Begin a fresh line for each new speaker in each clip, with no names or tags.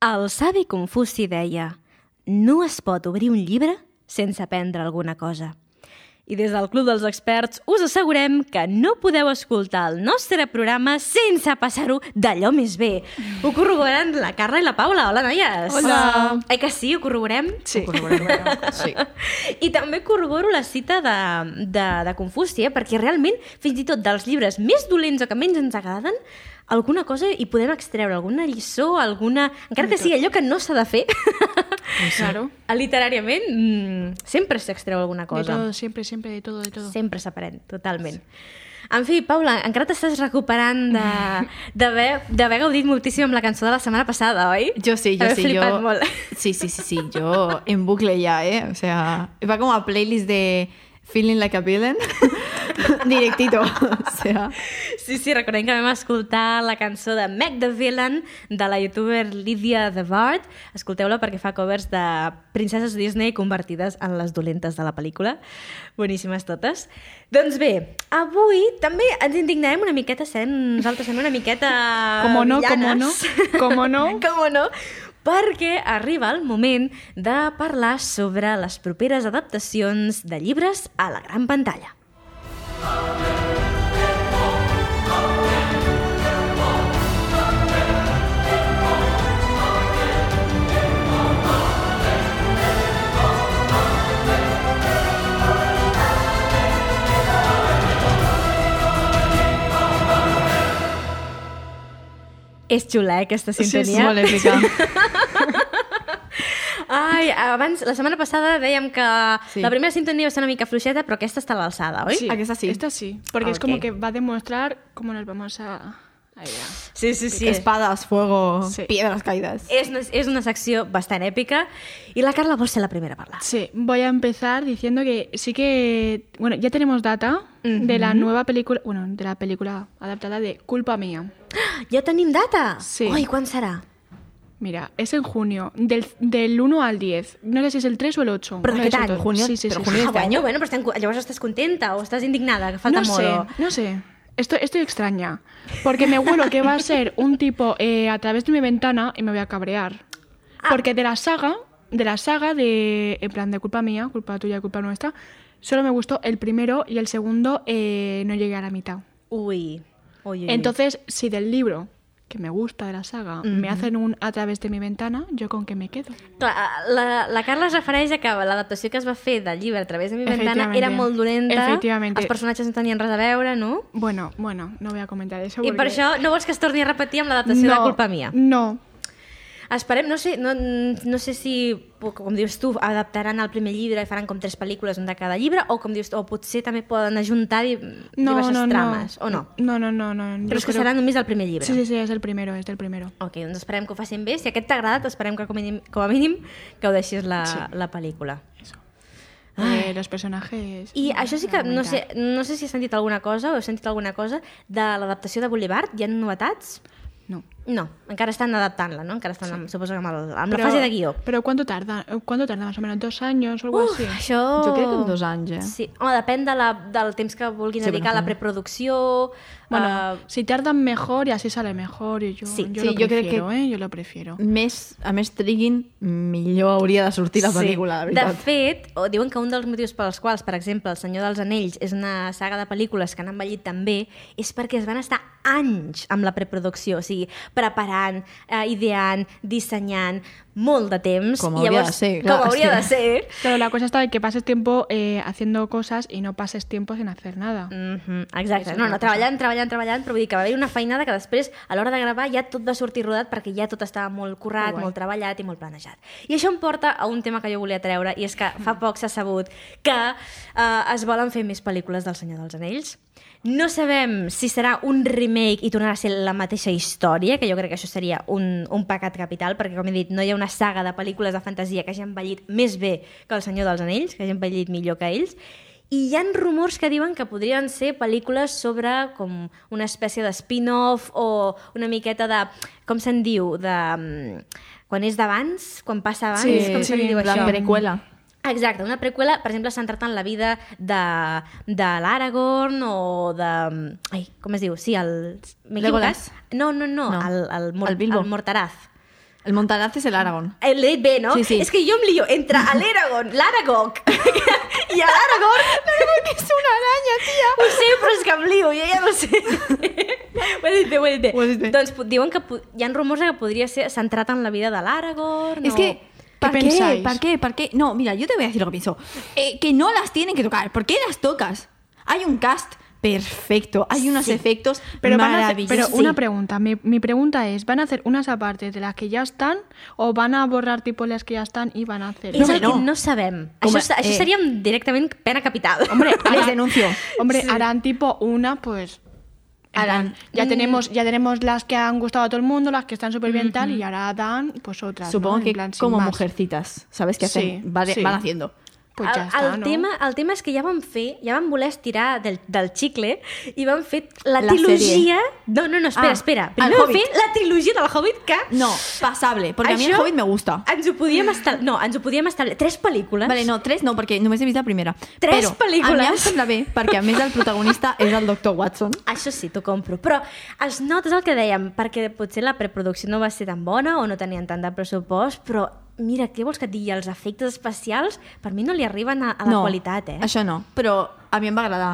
El savi Confuci deia «No es pot obrir un llibre sense aprendre alguna cosa». I des del Club dels Experts us assegurem que no podeu escoltar el nostre programa sense passar-ho d'allò més bé. Ho corroboren la Carla i la Paula. Hola, noies!
Hola.
Ai que sí, ho corroborem?
Sí.
Sí.
I també corroboro la cita de, de, de Confuci, eh? perquè realment, fins i tot dels llibres més dolents o que menys ens agraden, alguna cosa hi podem extreure, alguna lliçó, alguna... Encara que sigui allò que no s'ha de fer,
Claro.
Eh, literàriament, mm, sempre s'extreu alguna
De
cosa.
todo, siempre, siempre, de todo, de todo.
Sempre s'aprèn, totalment. En fi, Paula, encara t'estàs recuperant de- d'haver d'haver gaudit moltíssim amb la cançó de la setmana passada, oi?
Yo sí, yo
Haver
sí,
flipat
yo.
Molt.
Sí, sí, sí, sí, yo en bucle ya, ¿eh? O sea, va como a playlist de Feeling Like a Villain. Directito. O sea,
Sí, sí, recordem que vam escoltar la cançó de Meg the Villain de la youtuber Lydia the Bard. Escolteu-la perquè fa covers de princeses Disney convertides en les dolentes de la pel·lícula. Boníssimes totes. Doncs bé, avui també ens indignarem una miqueta, serem nosaltres serem una miqueta...
Como no, como no, como no.
com no, perquè arriba el moment de parlar sobre les properes adaptacions de llibres a la gran pantalla. És xula, eh, aquesta sintonia?
es maléfica.
Ai, abans, la setmana passada dèiem que sí.
Sí.
la primera sintonia va ser una mica fluixeta, però aquesta està a l'alçada, oi?
¿A que es así?
Esta sí, porque es
Ok.
como que va a demostrar cómo nos vamos a... a ir a-
sí, sí. sí. És,
Espadas, fuego,
Sí.
piedras caídas.
és, una, és una secció bastant èpica i la Carla vol ser la primera a parlar.
Sí, voy a empezar diciendo que sí que... Bueno, ya tenemos data de la nueva película... Bueno, de la película adaptada de Culpa Mía.
Ja tenim data?
Sí.
Oi, quan serà?
Mira, es en junio, del, del 1 al 10. No sé si es el 3 o el 8.
Però
no
de
he
què
hecho
tant?
todo.
Junio-
Sí, sí,
però
sí,
junio
sí.
Ah, bueno, bueno, però estan, llavors estàs contenta o estás indignada, que falta
no
molt.
sé, no sé. Estoy, estoy extraña. Porque me huelo que va a ser un tipo eh, a través de mi ventana y me voy a cabrear. Porque de la saga, de la saga de. En plan, de culpa mía, culpa tuya, culpa nuestra, solo me gustó el primero y el segundo eh, no llegué a la mitad.
Ui. Ui, ui, ui.
Entonces, si del libro que me gusta de la saga me hacen un a través de mi ventana, yo con qué me quedo.
Clar, la, la Carla es refereix a que l'adaptació que es va fer del llibre a través de mi ventana
Efectivamente.
era molt dolenta,
Efectivamente.
els personatges no tenien res a veure, no?
Bueno, bueno, no voy a comentar eso.
I per
porque-
això no vols que es torni a repetir amb l'adaptació de culpa mia.
No,
Esperem, no sé, no, no sé si, com dius tu, adaptaran el primer llibre i faran com tres pel·lícules, un de cada llibre, o com dius tu, o potser també poden ajuntar di
no,
diverses
no, no.
trames, o no?
No, no, no. no.
Però
yo
és que
creo-
serà només el primer llibre.
Sí, sí, sí, es el primero, es del primero.
Ok, doncs esperem que ho facin bé. Si aquest t'ha agradat, esperem que com a mínim, com a mínim gaudeixis la, sí. la pel·lícula. Ah.
Eh, los personajes.
I això sí que, no sé, no sé si has sentit alguna cosa o heu sentit alguna cosa de l'adaptació de Boulevard. Hi ha novetats?
No.
No, encara estan adaptant-la, no? Encara estan, sí. suposo que amb, el, amb la fase de guió.
Pero ¿cuánto tarda? ¿Cuánto tarda más o menos? ¿Dos años o algo
Uf,
así?
això...
Jo crec que en dos anys, eh?
Sí. Home, depèn de la, del temps que vulguin
Sí,
dedicar a la
bueno.
preproducció...
Bueno,
eh,
si tardan mejor y así sale mejor. Y yo,
Sí,
yo
sí,
lo
yo creo
prefiero,
que-
¿eh? Yo lo prefiero.
Mm.
Més, a més triguin, millor hauria de sortir la pel·lícula,
sí.
la
De
veritat.
fet, o diuen que un dels motius pels quals, per exemple, El senyor dels anells és una saga de pel·lícules que han envellit també, és perquè es van estar anys amb la preproducció, o sigui, preparant, eh, ideant, dissenyant, molt de temps.
Com
i
hauria
llavors,
de ser, clar,
Com hauria de
hòstia.
ser.
Claro, la cosa está de que pases tiempo eh, haciendo cosas y no pases tiempo sin hacer nada.
Mhm, Exacte, no, no, treballant, treballant, treballant, però vull dir que va haver una feinada que després, a l'hora de gravar, ja tot va sortir rodat perquè ja tot estava molt currat,
Guai.
molt treballat i molt planejat. I això em porta a un tema que jo volia treure, i és que fa poc s'ha sabut que eh, es volen fer més pel·lícules del Senyor dels Anells. No sabem si serà un remake i tornarà a ser la mateixa història, que jo crec que això seria un, un pecat capital, perquè, com he dit, no hi ha una saga de pel·lícules de fantasia que hagi envellit més bé que El Senyor dels Anells, que hagi envellit millor que ells, i hi ha rumors que diuen que podrien ser pel·lícules sobre com una espècie de spin-off o una miqueta de... com se'n diu? De, mm, quan és d'abans? Quan passa abans?
Sí,
com
sí,
se li diu
en plan
això?
preqüela.
Exacte, una preqüela, per exemple, centrat en la vida de, de l'Aragorn o de... mm, Ai, com es diu? Sí, el... m'he
Legolas.
equivocat? No, no, no,
No.
El, el, mor
El Bilbo.
el Mortaraz.
El Montaraz es el Aragón.
Eh, L'he dit bé, no?
Sí, sí.
És que jo em lio entre l'Aragon, l'Aragoc i l'Aragon. L'Aragon que és una aranya, tia. Ho sé, però és que em lio, jo ja no sé. ho he dit bé, ho he dit bé.
Ho has dit bé.
Doncs po- diuen que po- hi ha rumors de que podria ser centrat en la vida de
Ah,
l'Aragorn.
Es
o-
que, ¿para
¿Qué
qué?
pensáis?
¿Para qué? ¿Para qué? No, mira, yo te voy a decir lo que pienso. Eh, que no las tienen que tocar. ¿Por qué las tocas? Hay un cast perfecto. Hay unos efectos
Pero, van a hacer,
maravillosos.
pero una
Sí.
pregunta, mi, mi pregunta es, ¿van a hacer unas aparte de las que ya están o van a borrar tipo las que ya están y van a hacer?
És
No,
el
no.
que no sabem.
Com
Això,
a-
eh. això
eh.
seríem directament pena capital.
Hombre,
Les denuncio.
Hombre,
Sí.
harán tipo una, pues...
Harán. Mm.
Ya tenemos, ya tenemos las que han gustado a todo el mundo, las que están súper bien tal, y ahora dan pues otras.
Supongo
¿no? En
que
plan, sin
como
más.
mujercitas, ¿sabes qué hacen?
Sí,
Vale-
sí.
Van haciendo.
Pues ya
el,
está,
el,
¿no?
tema, el tema és que ja vam fer, ja vam voler estirar del, del xicle i vam fer la,
La
trilogia... No, no, no, espera,
Ah,
espera.
el
Primer vam
Hobbit.
fer la trilogia del Hobbit que...
No, pasable. Porque a mí el
Això
Hobbit me gusta.
Ens ho podíem estal... No, ens ho podíem establir. Tres pel·lícules.
Vale, no, tres no, perquè només he vist la primera.
Tres
Però
pel·lícules.
A mi em sembla bé, perquè a més el protagonista és el doctor Watson.
Això sí, t'ho compro. Però es nota és el que dèiem, perquè potser la preproducció no va ser tan bona o no tenien tant de pressupost, però mira, què vols que et digui? Els efectes especials per mi no li arriben a, a la
no,
qualitat, eh?
Això no, però a mi em va agradar.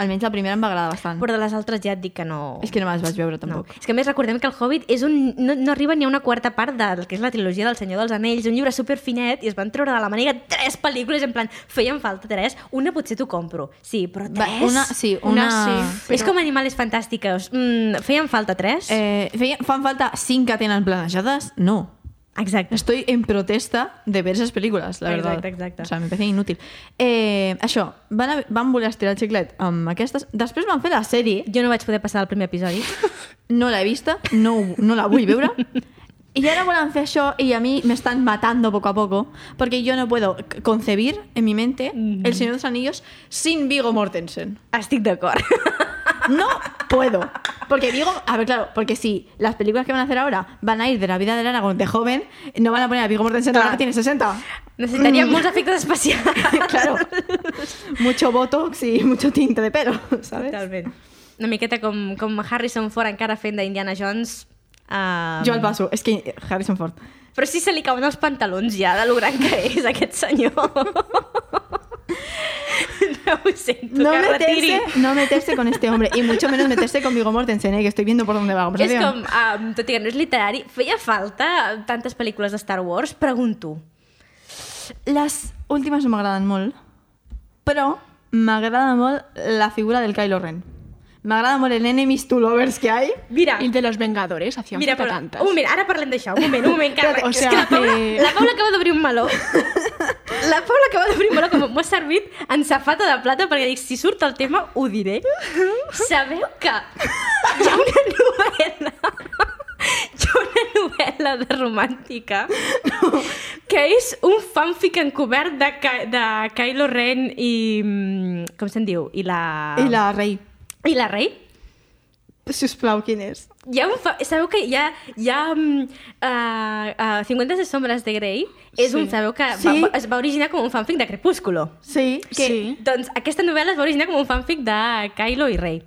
Almenys la primera em va agradar bastant.
Però de les altres ja et dic que no...
És que no me les vaig veure
No.
tampoc.
És que a més recordem que el Hobbit és un, no, no arriba ni a una quarta part del que és la trilogia del Senyor dels Anells, un llibre superfinet, i es van treure de la màniga tres pel·lícules, en plan, feien falta tres, una potser t'ho compro, sí, però
Va,
tres?
una, sí, una...
Una sí.
És com Animales Fantàstiques, mm, feien falta tres?
Eh, feia- fan falta cinc que tenen planejades? No.
Exacte.
Estoy en protesta de ver esas películas, la
Exacte,
verdad.
exacte.
O sea, me parece inútil. Eh, això, van, a, van voler estirar el xiclet amb aquestes. Després van fer la sèrie,
Jo no vaig poder passar el primer episodi.
no l'he vista, no, ho- no la vull veure. I ara volen fer això i a mi me están matando poco a poco porque yo no puedo c- concebir en mi mente
Mm.
El Señor de los Anillos sin Vigo Mortensen.
Estic d'acord.
No puedo. Porque digo, a ver, claro, porque si las películas que van a hacer ahora van a ir de la vida del Aragorn de joven, no van a poner a Viggo Mortensen ahora que tiene 60.
Necessitaria molts efectes especials.
Claro. Mucho botox y mucho tinte de pelo, ¿sabes?
Totalment. Una miqueta com, com Harrison Ford encara fent d'Indiana Jones. Um,
Yo al paso, es que eh, Harrison Ford.
Però sí se li cauen els pantalons ja, de lo gran que és aquest senyor. no ho sento,
No
que es retiri.
meterse, no meterse con este hombre y mucho menos meterse con Viggo Mortensen, ¿eh? que estoy viendo por dónde va la
És
conversación.
com, um, tot i que no és literari, feia falta tantes pel·lícules de Star Wars? Pregunto.
Les últimes no m'agraden molt, però m'agrada molt la figura del Kylo Ren. M'agrada molt el enemies to lovers que hay.
Mira,
Y de los Vengadores, hacían
mira,
falta
però,
tantas.
un moment, ara parlem d'això, un moment, un moment, Carme.
O
o
sea
sigui, que la Paula,
que-
la Paula acaba d'obrir un meló. La Paula acaba d'obrir un meló que m'ho ha servit en safata de plata perquè dic, si surt el tema, ho diré. Sabeu que hi ha una novel·la hi ha una novel·la de romàntica que és un fanfic encobert de, Ka de Kylo Ren i... mm, com se'n diu? I la...
Ah.
I la rei.
I la Rey?
Si us plau, quin és?
Hi ha un fa... Sabeu que hi ha... Hi ha um, uh, uh, 50 sombres de Grey és sí. un... Sabeu que sí.
Sí.
va, es va originar com un fanfic de Crepúsculo.
Sí,
Que,
Sí.
Doncs aquesta novel·la es va originar com un fanfic de Kylo i Rey.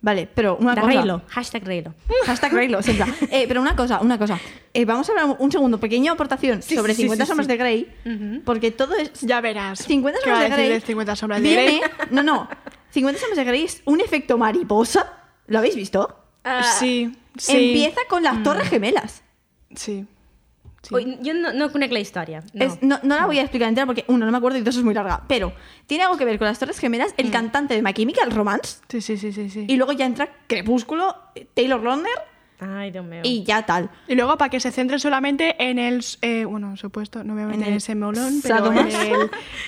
Vale, pero una
de
cosa.
Reylo. Hashtag Reylo.
Hashtag Reylo, siempre. Eh, pero una cosa, una cosa. Eh, vamos a hablar un segundo, pequeña aportación
Sí,
sobre
sí, sí,
50
sí,
sombras
sí.
de Grey, porque todo es...
Ya verás.
50
¿Qué va
sombras de
a decir
Grey...
50 sombras de
viene-
Grey?
No, no. 50 sombras de Grey es un efecto mariposa. ¿Lo habéis visto?
Uh,
sí, sí. Mm.
Empieza con las torres gemelas.
Sí. sí.
Ui, jo no, no conec la història. No.
Es- no, no la voy a explicar entera porque, uno, no me acuerdo y dos, es muy larga. Pero tiene algo que ver con las torres gemelas,
Mm.
el cantante de My Chemical Romance,
Sí, sí, sí, sí. sí.
y luego ya entra Crepúsculo, Taylor Lautner
Ai, Déu meu.
y ya tal.
Y luego para que se centre solamente en el, eh, bueno, supuesto, no voy a meter
el
ese molón, pero en
sadomas.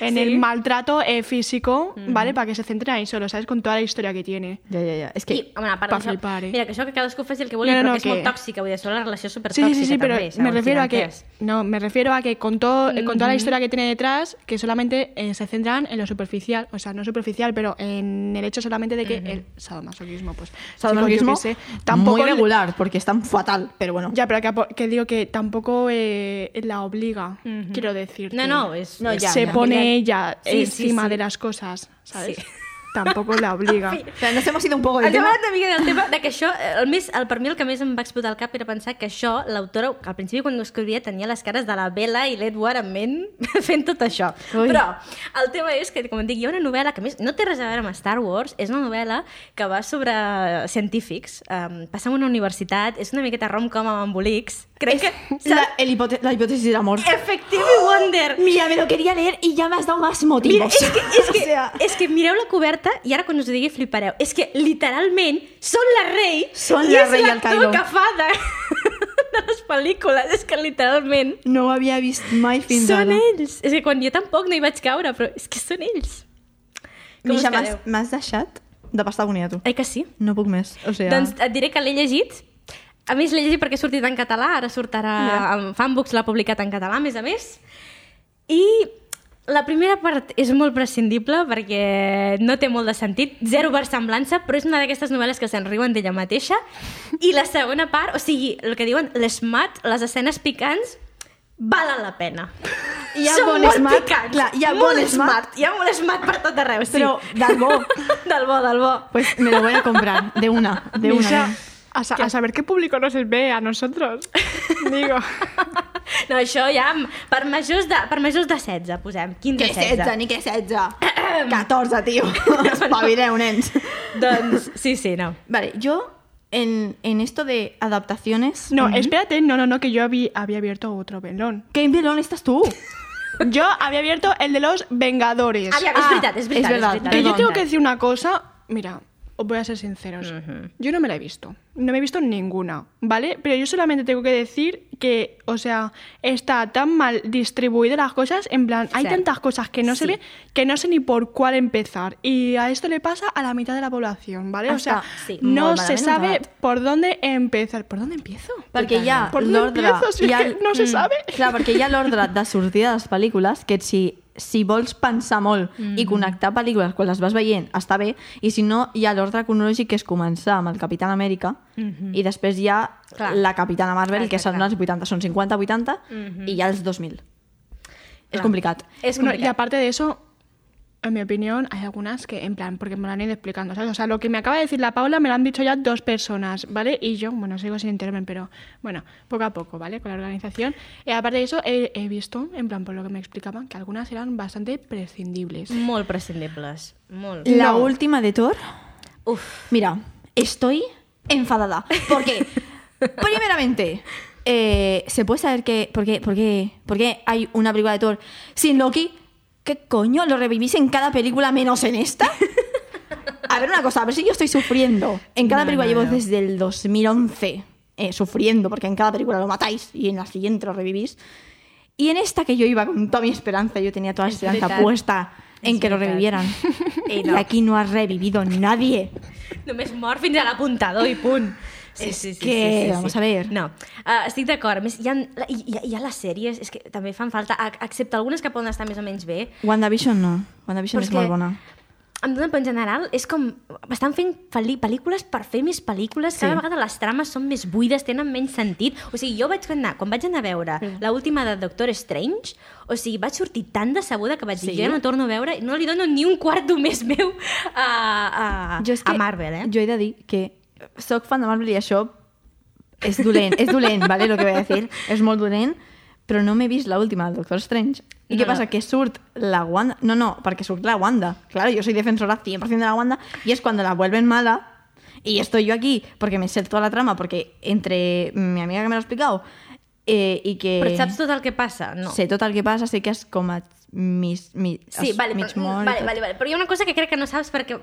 el, en el maltrato eh, físico, ¿vale? Para que se centre ahí solo, ¿sabes? Con toda la historia que tiene.
Ya, ya, ya. Es que...
I, home, a part
pa
d'això,
flipar, eh?
mira, que això que cadascú faci el que vulgui,
No, no,
però
no,
que és molt
que-
tòxica, vull dir, això la relació
Sí,
supertòxica
sí, sí, sí, pero
també,
me
segons
refiero a
quin
que
entès.
no, me refiero a que con todo, eh, con toda la historia que tiene detrás, que solamente eh, se centran en lo superficial, o sea, no superficial, pero en el hecho solamente de que el sadomasoquismo, pues,
sadomasoquismo
chicos, yo qué sé, tampoco
muy
le-
regular, porque están fatal, pero bueno.
Ya, pero que, apo- que digo que tampoco eh, la obliga, quiero decir.
No, no, és...
No,
és-
ya,
se
ya.
pone ella
Sí, sí,
encima
sí.
de las cosas, ¿sabes?
Sí.
tampoco la obliga.
O sea, nos hemos ido un poco del
Ens hem
tema.
anat una mica del tema de que això, eh, el més, el, per mi el que més em va explotar al cap era pensar que això, l'autora, que al principi quan ho escrivia tenia les cares de la Bella i l'Edward en ment fent tot això.
Ui.
Ui. Però el tema és que, com et dic, hi ha una novel·la que a més no té res a veure amb Star Wars, és una novel·la que va sobre científics, um, passa en una universitat, és una miqueta rom-com amb embolics, crec que...
La, el hipote- la hipótesis del amor.
Effective Wonder!
Mira, me lo quería leer y ya me has dado más
Mira,
motivos.
és que, és, que,
O sea,
és que mireu la coberta i ara quan us ho digui flipareu. És que literalment són la rei
Són
i
la
és
rei al
l'actor
Cairo.
que fa de, de les pel·lícules. És que literalment
no había visto mai fins
són
ara.
ells. És que quan jo tampoc no hi vaig caure, però és que són ells. Com us
Misha, m'has-
quedeu?
m'has deixat de pastar agonia, tu.
Ai que sí?
No puc més. O sea,
Doncs et diré que l'he llegit. A més, l'he llegit perquè ha sortit en català, ara sortirà...
Ja.
En Fanbooks l'ha publicat en català, a més a més. I la primera part és molt prescindible perquè no té molt de sentit, zero versemblança, però és una d'aquestes novel·les que se'n riuen d'ella mateixa. I la segona part, o sigui, el que diuen les mat, les escenes picants, valen la pena.
Hi ha
Són
bon
molt
smart,
picants,
clar, hi ha
molt
bon smart.
smart, hi ha molt smart per tot arreu, sí.
Però del bo.
del bo, del bo.
Pues me lo voy a comprar, de una, de una.
Misha,
nena.
a, sa- a saber qué público nos ve a nosotros. Digo,
No, això ja... amb- Per majors de, per majors de 16, posem. 15
Què
16.
16, ni què 16? 14, tio. Espavileu, nens.
Doncs, sí, sí, no.
Vale, yo en, en esto de adaptaciones...
no, espérate, no, no, no, que yo habí- había abierto otro velón.
¿Qué melón estás tú?
Yo había abierto el de los Vengadores.
Aviam,
Ah,
és veritat,
és
és veritat.
verdad.
veritat.
Que yo
Perdón.
tengo que decir una cosa, mira, os voy a ser sinceros. Yo no me la he visto. No me he visto ninguna, ¿vale? Pero yo solamente tengo que decir que, o sea, está tan mal distribuida las cosas, en plan, hay
Cierto.
tantas cosas que no se
Sí.
ve que no sé ni por cuál empezar. Y a esto le pasa a la mitad de la población, ¿vale? o
Hasta-
sea,
sí,
no
molt
se
malament
sabe
acabat.
por dónde empezar. ¿Por dónde empiezo?
Perquè hi ha
Per on
l'ordre...
empiezo, si
hi ha-
és que no se sabe.
Clar, perquè hi ha l'ordre de sortida de les pel·lícules que si, si vols pensar molt
Mm.
i connectar pel·lícules quan les vas veient, està bé, i si no, hi ha l'ordre cronològic que és començar amb el Capitán Amèrica
Mhm.
i després hi ha
Clar.
la Capitana Marvel,
Clar,
que
clar,
són
clar.
els 80, són 50-80 i hi ha els 2000.
Clar.
És complicat.
És
Bueno, y
complicat.
aparte de eso, en mi opinión, hay algunas que, en plan, porque me lo han ido explicando, ¿sabes? O sea, lo que me acaba de decir la Paula me lo han dicho ya dos personas, ¿vale? Y yo, bueno, sigo sin enterarme, pero bueno, poco a poco, ¿vale? Con la organización. Y aparte de eso, he, he visto, en plan, por lo que me explicaban, que algunas eran bastante prescindibles.
Molt prescindibles. Molt.
La
No.
última de Thor...
Uf.
Mira, estoy enfadada. Porque, primeramente, eh, se puede saber que, por qué, por, qué, por qué hay una película de Thor sin Loki. ¿Qué coño? ¿Lo revivís en cada película menos en esta? A ver, una cosa, a ver si yo estoy sufriendo. En cada película llevo desde el 2011 eh, sufriendo, porque en cada película lo matáis y en la siguiente lo revivís. Y en esta que yo iba con toda mi esperanza, yo tenía toda la
Es
esperanza
verdad.
puesta en
Es
que lo
verdad.
revivieran.
Y
y
no.
aquí no ha revivido nadie.
Només mor fins a l'apuntador i punt. Sí, sí, sí,
que, vamos a ver.
No, uh, estic d'acord. A més, hi ha, hi, hi, ha- hi ha les sèries, és que també fan falta, a- excepte algunes que poden estar més o menys bé,
WandaVision no. WandaVision
Però és
és, és molt
que-
bona.
em dona, però en general és com... Estan fent pel·li- pel·lícules per fer més pel·lícules, cada
Sí.
vegada les trames són més buides, tenen menys sentit. O sigui, jo vaig anar, quan vaig anar a veure sí. l'última de Doctor Strange, o sigui, vaig sortir tan decebuda que vaig sí. dir, jo ja no torno a veure, no li dono ni un quarto més meu a, a,
Jo és que,
a Marvel, eh?
Jo he de dir que soc fan de Marvel i això és dolent, és dolent, vale, lo que voy a decir. És molt dolent, però no m'he vist l'última, el Doctor Strange. I
No,
què passa?
no.
Que surt la Wanda... No, no, perquè surt la Wanda. Claro, yo soy defensora 100% de la Wanda y es cuando la vuelven mala y estoy yo aquí porque me sé toda la trama porque entre mi amiga que me lo ha explicado eh, y que...
Però saps tot el que passa? No.
Sé tot el que passa, sé que és com a mis, mi,
Sí,
es-
vale,
mig
però,
mort i
vale,
tot.
vale, vale, però hi ha una cosa que crec que no saps perquè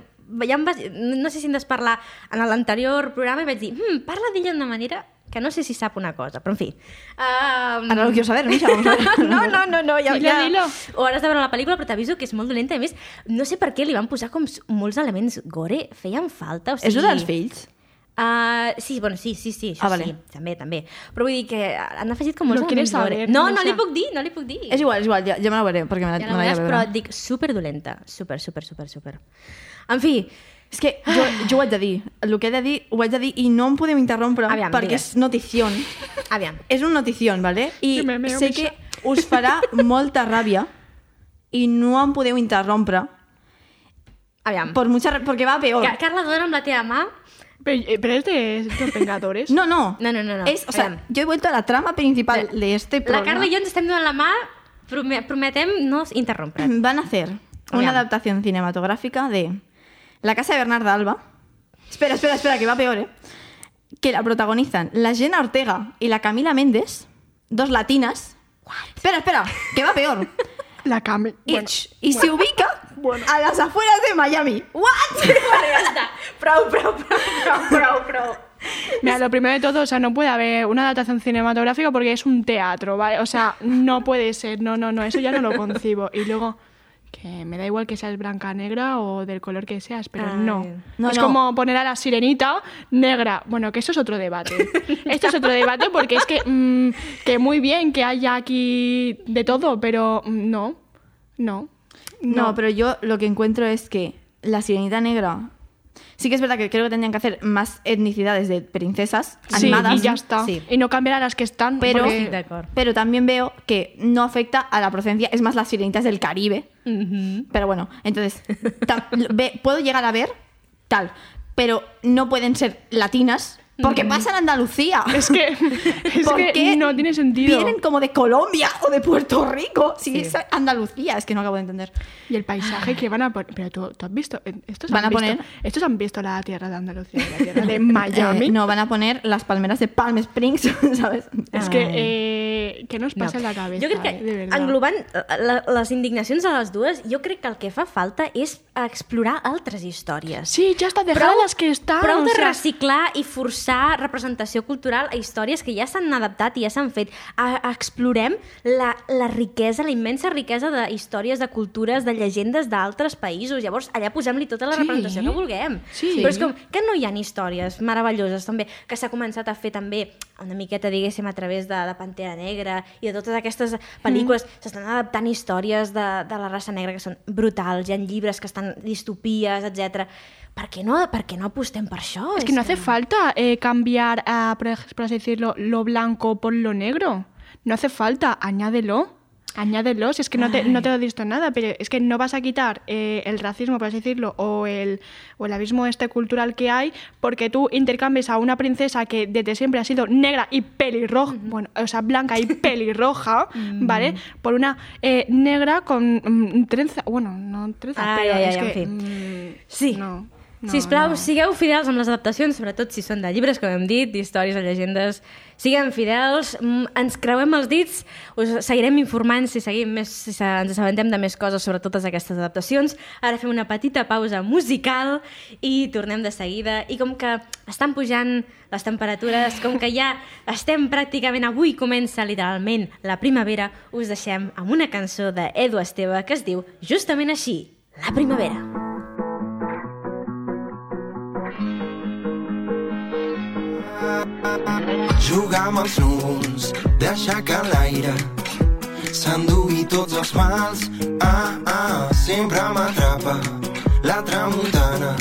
ja em vas, no sé si en vas parlar en l'anterior programa i vaig dir, hm, parla d'ella d'una manera que no sé si sap una cosa, però en fi. Um...
Ahora lo quiero saber, Misha, vamos a ver.
no, no, no, no, ja,
Dilo,
ja.
dilo.
Ho hauràs de veure la pel·lícula, però t'aviso que és molt dolenta. A més, no sé per què li van posar com s- molts elements gore, feien falta. O sigui...
És un dels fills?
Uh, sí, bueno, sí, sí, sí, això
Ah,
ah,
vale.
vale. sí, també, també. Però vull dir que han afegit com molts
Lo quieres
elements gore.
saber,
No,
o
no
sea.
li puc dir, no li puc dir.
És igual, és igual, ja, ja me la veuré, perquè me la,
Ja
me
la
la
veuràs,
iré a
però
veure.
et dic super dolenta. Super, super, super, super. En fi,
És que jo, jo ho haig de dir, el que he de dir ho haig de dir i no em podem interrompre
Aviam,
perquè
digues.
és notició.
aviam.
És un notició, ¿vale? I
Jo me meo,
sé que
Misha.
us farà molta ràbia i no em podeu interrompre
Aviam.
Por mucha, ra- porque va peor.
Ca- Carla, dona amb la teva mà.
Pero, eh, pero es de los Vengadores.
No, no.
No, no, no, no.
Es, o sea,
Aviam.
yo he vuelto a la trama principal
La-
de este
La
programa.
Carla i jo ens estem donant la mà, prome- prometem no interrompre.
Mm-hmm.
Van a hacer una
Aviam.
adaptación cinematográfica de La casa de Bernarda Alba. Espera, espera, espera, que va peor, ¿eh? Que la protagonizan la Jenna Ortega y la Camila Méndez, dos latinas. Espera, espera, que va peor.
La Cam.
Y,
Bueno,
ch- y se ubica a las afueras de Miami. ¿What?
Vale, ja està. Prou, prou, prou, prou, prou, prou.
mira, lo primero de todo, o sea, no puede haber una adaptación cinematográfica porque es un teatro, ¿vale? O sea, no puede ser. No, no, no, eso ya no lo concibo. Y luego, que me da igual que seas blanca, negra o del color que seas, pero
Ay.
no.
No,
Es
no.
como poner a la sirenita negra. Bueno, que eso es otro debate. Esto es otro debate porque es que, mm, que muy bien que haya aquí de todo, pero mm, no. No.
No, pero yo lo que encuentro es que la sirenita negra. Sí que es verdad que creo que tendrían que hacer más etnicidades de princesas
Sí,
animadas.
y ya está.
Sí.
Y no cambiar a las que están.
Pero,
porque-
Sí, d'acord.
pero también veo que no afecta a la procedencia. Es más, las sirenitas del Caribe.
Mm-hmm.
Pero bueno, entonces, tam- ve- puedo llegar a ver tal, pero no pueden ser latinas porque pasan a Andalucía.
Mm. Es que, es
¿Por
que
qué
no tiene sentido.
Vienen como de Colombia o de Puerto Rico. Si es Andalucía, es que no acabo de entender.
Y el paisaje que van a poner. Pero tú, tú has visto. eh, Estos
Ah. Van
han
a
visto-
poner-
Estos han visto la tierra de Andalucía, la tierra de Miami.
Eh, no, van a poner las palmeras de Palm Springs, ¿sabes?
Es
Ah.
que, eh, ¿qué nos pasa en la cabeza?
Jo crec
eh?
que,
de verdad.
englobant eh, la, les indignacions de les dues, jo crec que el que fa falta és explorar altres històries.
Sí, ya está, dejad las que están.
prou
o
de
sea,
reciclar i forçar representació cultural a històries que ja s'han adaptat i ja s'han fet. A, a- explorem la, la riquesa, la immensa riquesa de històries, de cultures, de llegendes d'altres països. Llavors, allà posem-li tota la
Sí.
representació que vulguem.
Sí.
Però és com que no hi ha històries meravelloses, també, que s'ha començat a fer també una miqueta, diguéssim, a través de, de Pantera Negra i de totes aquestes pel·lícules. Mm. S'estan adaptant històries de, de la raça negra que són brutals, hi ha llibres que estan distopies, etc. Per què no, per què no apostem per això?
Es que no hace falta eh, cambiar, ah, por, ej- por así decirlo, lo blanco por lo negro. No hace falta, añádelo. Añádelo, si es que no te, no te lo he visto nada, pero es que no vas a quitar eh, el racismo, por así decirlo, o el, o el abismo este cultural que hay, porque tú intercambies a una princesa que desde siempre ha sido negra y pelirroja, bueno, o sea, blanca y pelirroja,
Mm.
¿vale? Por una eh, negra con mm, trenza, bueno, no trenza,
Ay,
pero
ay,
es
ay,
que...
en
mm,
Sí.
No, no,
Sisplau,
no.
sigueu fidels amb les adaptacions, sobretot si són de llibres, com hem dit, d'històries, de llegendes. Siguem fidels, mm, ens creuem els dits, us seguirem informant si seguim més, si se- ens assabentem de més coses sobre totes aquestes adaptacions. Ara fem una petita pausa musical i tornem de seguida. I com que estan pujant les temperatures, com que ja estem pràcticament avui, comença literalment la primavera, us deixem amb una cançó d'Edu Esteve que es diu justament així, La primavera.
Jugar amb els núvols, deixar que l'aire s'endugui tots els mals. Ah, ah, sempre m'atrapa la tramuntana.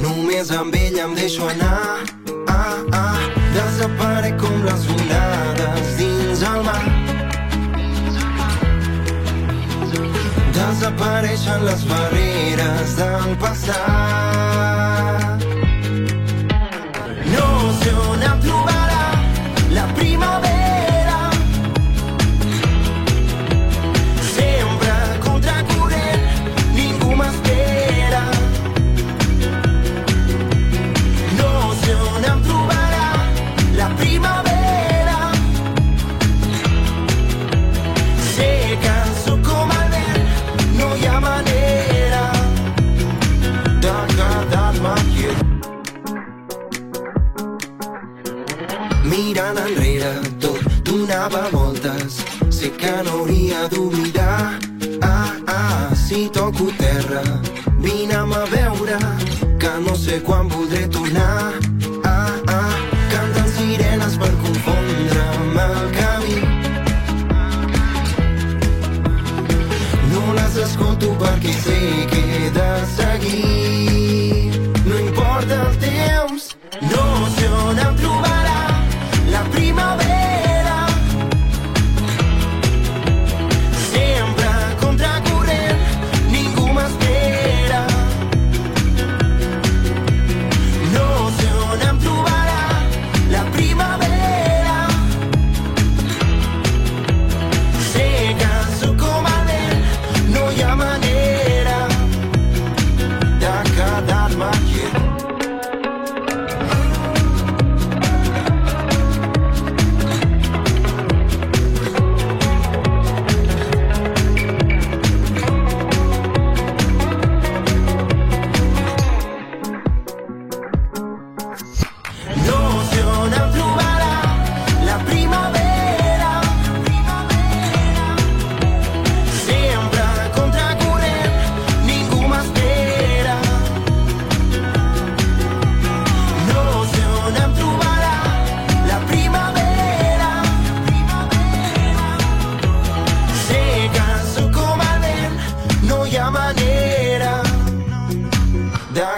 Només amb ella em deixo anar. Ah, ah, desaparec com les onades dins el mar. Desapareixen les barreres del passat. No sé on em trobarà la primavera. Sempre contracorrent, ningú m'espera. No sé on em trobarà la primavera. Sé que sóc com el vent, no hi ha manera de quedar-me quiet. Mirant enrere tot donava voltes Sé que no hauria d'oblidar Ah, ah, si toco terra Vine'm a veure Que no sé quan voldré tornar Ah, ah, canten sirenes per confondre'm el camí No les escolto perquè sé que he de seguir No importa el temps No sé on em trobarà la primavera Sempre contracorrent, ningú m'espera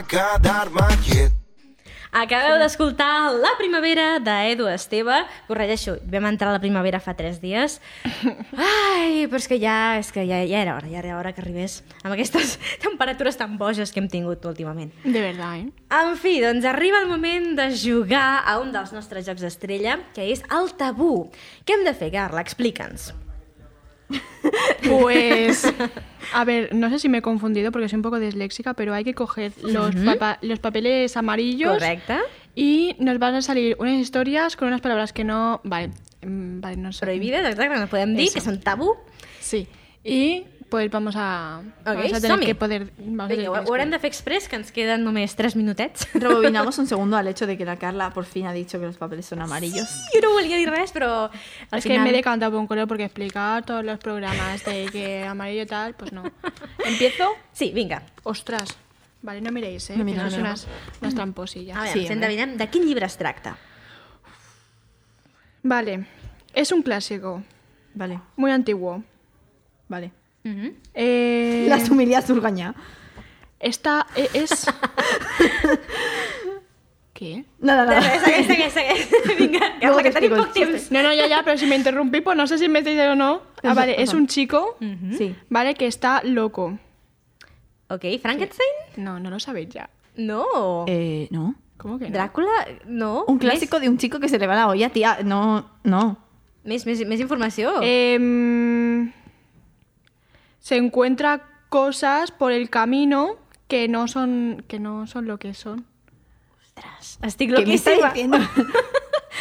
quedar-me quiet.
Acabeu d'escoltar La Primavera d'Edu Esteve. Corregeixo, vam entrar a la primavera fa tres dies. Ai, però és que ja, és que ja, ja era hora, ja era hora que arribés amb aquestes temperatures tan boges que hem tingut últimament.
De verdad, ¿eh?
En fi, doncs arriba el moment de jugar a un dels nostres jocs estrella, que és el tabú. Què hem de fer, Carla? Explica'ns.
Pues, a ver, no sé si me he confundido porque soy un poco disléxica, pero hay que coger los, papa- los papeles amarillos.
Correcte.
Y nos van a salir unas historias con unas palabras que no. Vale, mm, vale no sé.
Prohibides, exacte, no podem dir,
Eso.
que són tabú.
Sí. Y pues vamos a. vamos a tener
som-hi.
que poder. Vamos a tener
Vinga, ho,
que
ho haurem de fer express, que ens queden només 3 minutets.
Rebobinamos un segundo al hecho de que la Carla por fin ha dicho que los papeles son amarillos.
Jo no volia dir res, però... al
Es que
final-
me he decantado por un color porque explicar todos los programas de que amarillo tal, pues no. Empiezo.
Sí, vinga.
Ostras. Vale, no miréis, ¿eh?
No
que
miréis,
son
no.
unas, unas tramposillas.
A veure,
Sí,
sí,
home.
endevinem de quin llibre es tracta.
Vale. Es un clásico.
Vale,
Muy antiguo.
vale.
Eh,
Las humillas Urgaña.
Esta e- es. ¿Qué?
Nada, nada.
Segueix, segueix, segueix. Vinga,
Luego
Carla, que
t'explico
tenim poc
el
temps.
No, no, ya, ya, pero si me interrumpí, pues no sé si me estáis o no. Ah, vale, es un chico,
Sí.
¿vale? Que está loco.
Ok, Frankenstein?
No, no lo sabéis ya.
No.
Eh, no.
¿Cómo que no?
Dràcula? No.
Un clásico de un chico que se le va la olla, tía. No, no.
Més, més, més informació.
Eh, Em, se encuentra cosas por el camino que no son, que no son lo que son.
Estic
¿Qué me está
loquíssima.
diciendo?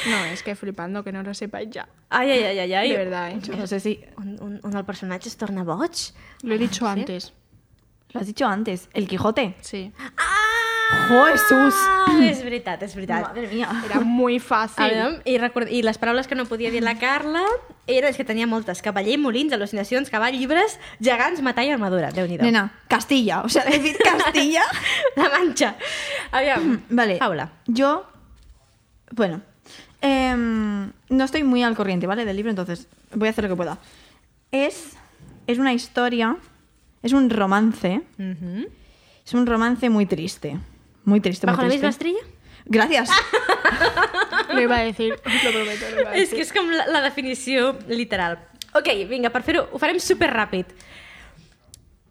No, es que flipando que no lo sepáis ya.
Ai, ai, ai, ai, ai.
De verdad, ¿eh?
Yo no sé si...
On, on, on el personatge es Ah, torna boig?
Lo he dicho antes.
Lo has dicho antes. El Quijote.
Sí.
Ah!
¡Jo, ¡Oh, Jesús!
És veritat, és veritat.
mía.
Era muy
A
fácil.
veure, i, record... I les paraules que no podia dir la Carla era és que tenia moltes. Cavaller, molins, al·lucinacions, cavall, llibres, gegants, matar i armadura. Déu-n'hi-do.
Nena, Castilla. O sea, decir Castilla.
La manxa. Aviam.
vale.
Paula.
Yo... Bueno. em, no estoy muy al corriente, ¿vale? Del libro, entonces voy a hacer lo que pueda. Es, es una historia, es un romance, es un romance muy triste. Muy triste, muy
Bajo la
triste.
misma estrella?
Gracias.
Lo iba a decir, os lo prometo. Lo iba a
És
decir.
que és com la, la definició literal. Ok, vinga, per fer-ho, ho farem superràpid.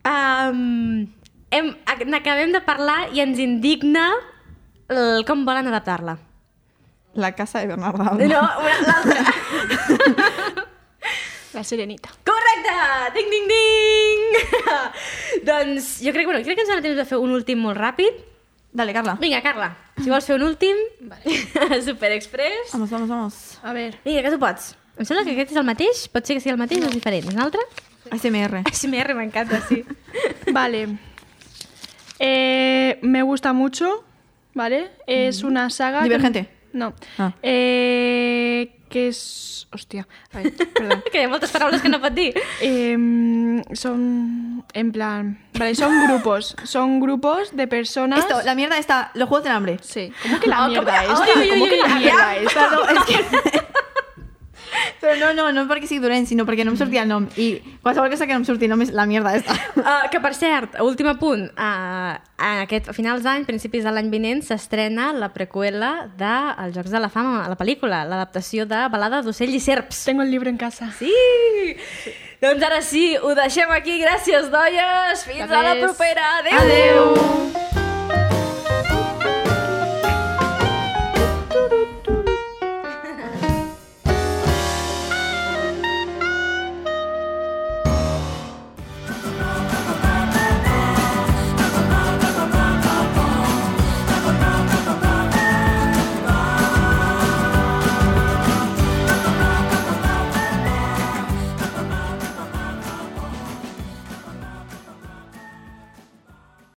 Um, hem, ac- n'acabem de parlar i ens indigna el, com volen adaptar-la.
La casa de Bernarda. Alba.
No, una- l'altra.
La sirenita.
Correcte! Ding, ding, ding! doncs jo crec, bueno, crec que ens dona temps de fer un últim molt ràpid.
Dale, Carla.
Vinga, Carla, si vols fer un últim, vale. super express.
Vamos, vamos, vamos.
A ver.
Vinga, que tu pots. Em sembla que aquest és el mateix, pot ser que sigui el mateix o és diferent. Un altre?
ASMR.
ASMR m'encanta, sí.
Vale. Eh, me gusta mucho, ¿vale? Es una saga... que-
Divergente.
No.
Ah.
Eh, que es... Hostia. Ay, perdón.
que hi ha moltes paraules que no pot dir.
Em, son... En plan... Vale, son grupos. Son grupos de personas...
Esto, la Ah, mierda está. Los juegos del hambre.
Sí. ¿Cómo que la
Oh, ¿cómo
mierda
que-
esta?
Ay, ay,
¿Cómo que
ay,
la
ay,
mierda esta?
Perdón, es que- Pero no, no, no perquè sigui dolent, sinó perquè no em sortia el nom. I qualsevol cosa que no em surti el nom és la mierda esta.
Uh, que, per cert, últim apunt. Uh, a, aquest, a finals d'any, principis de l'any vinent, s'estrena la preqüela de Els Jocs de la Fama, la pel·lícula, l'adaptació de Balada d'Ocell i Serps.
Tengo el libro en casa.
Sí! Doncs ara sí, ho deixem aquí. Gràcies, noies! Fins a la
Adés.
propera! Adéu!
Adeu!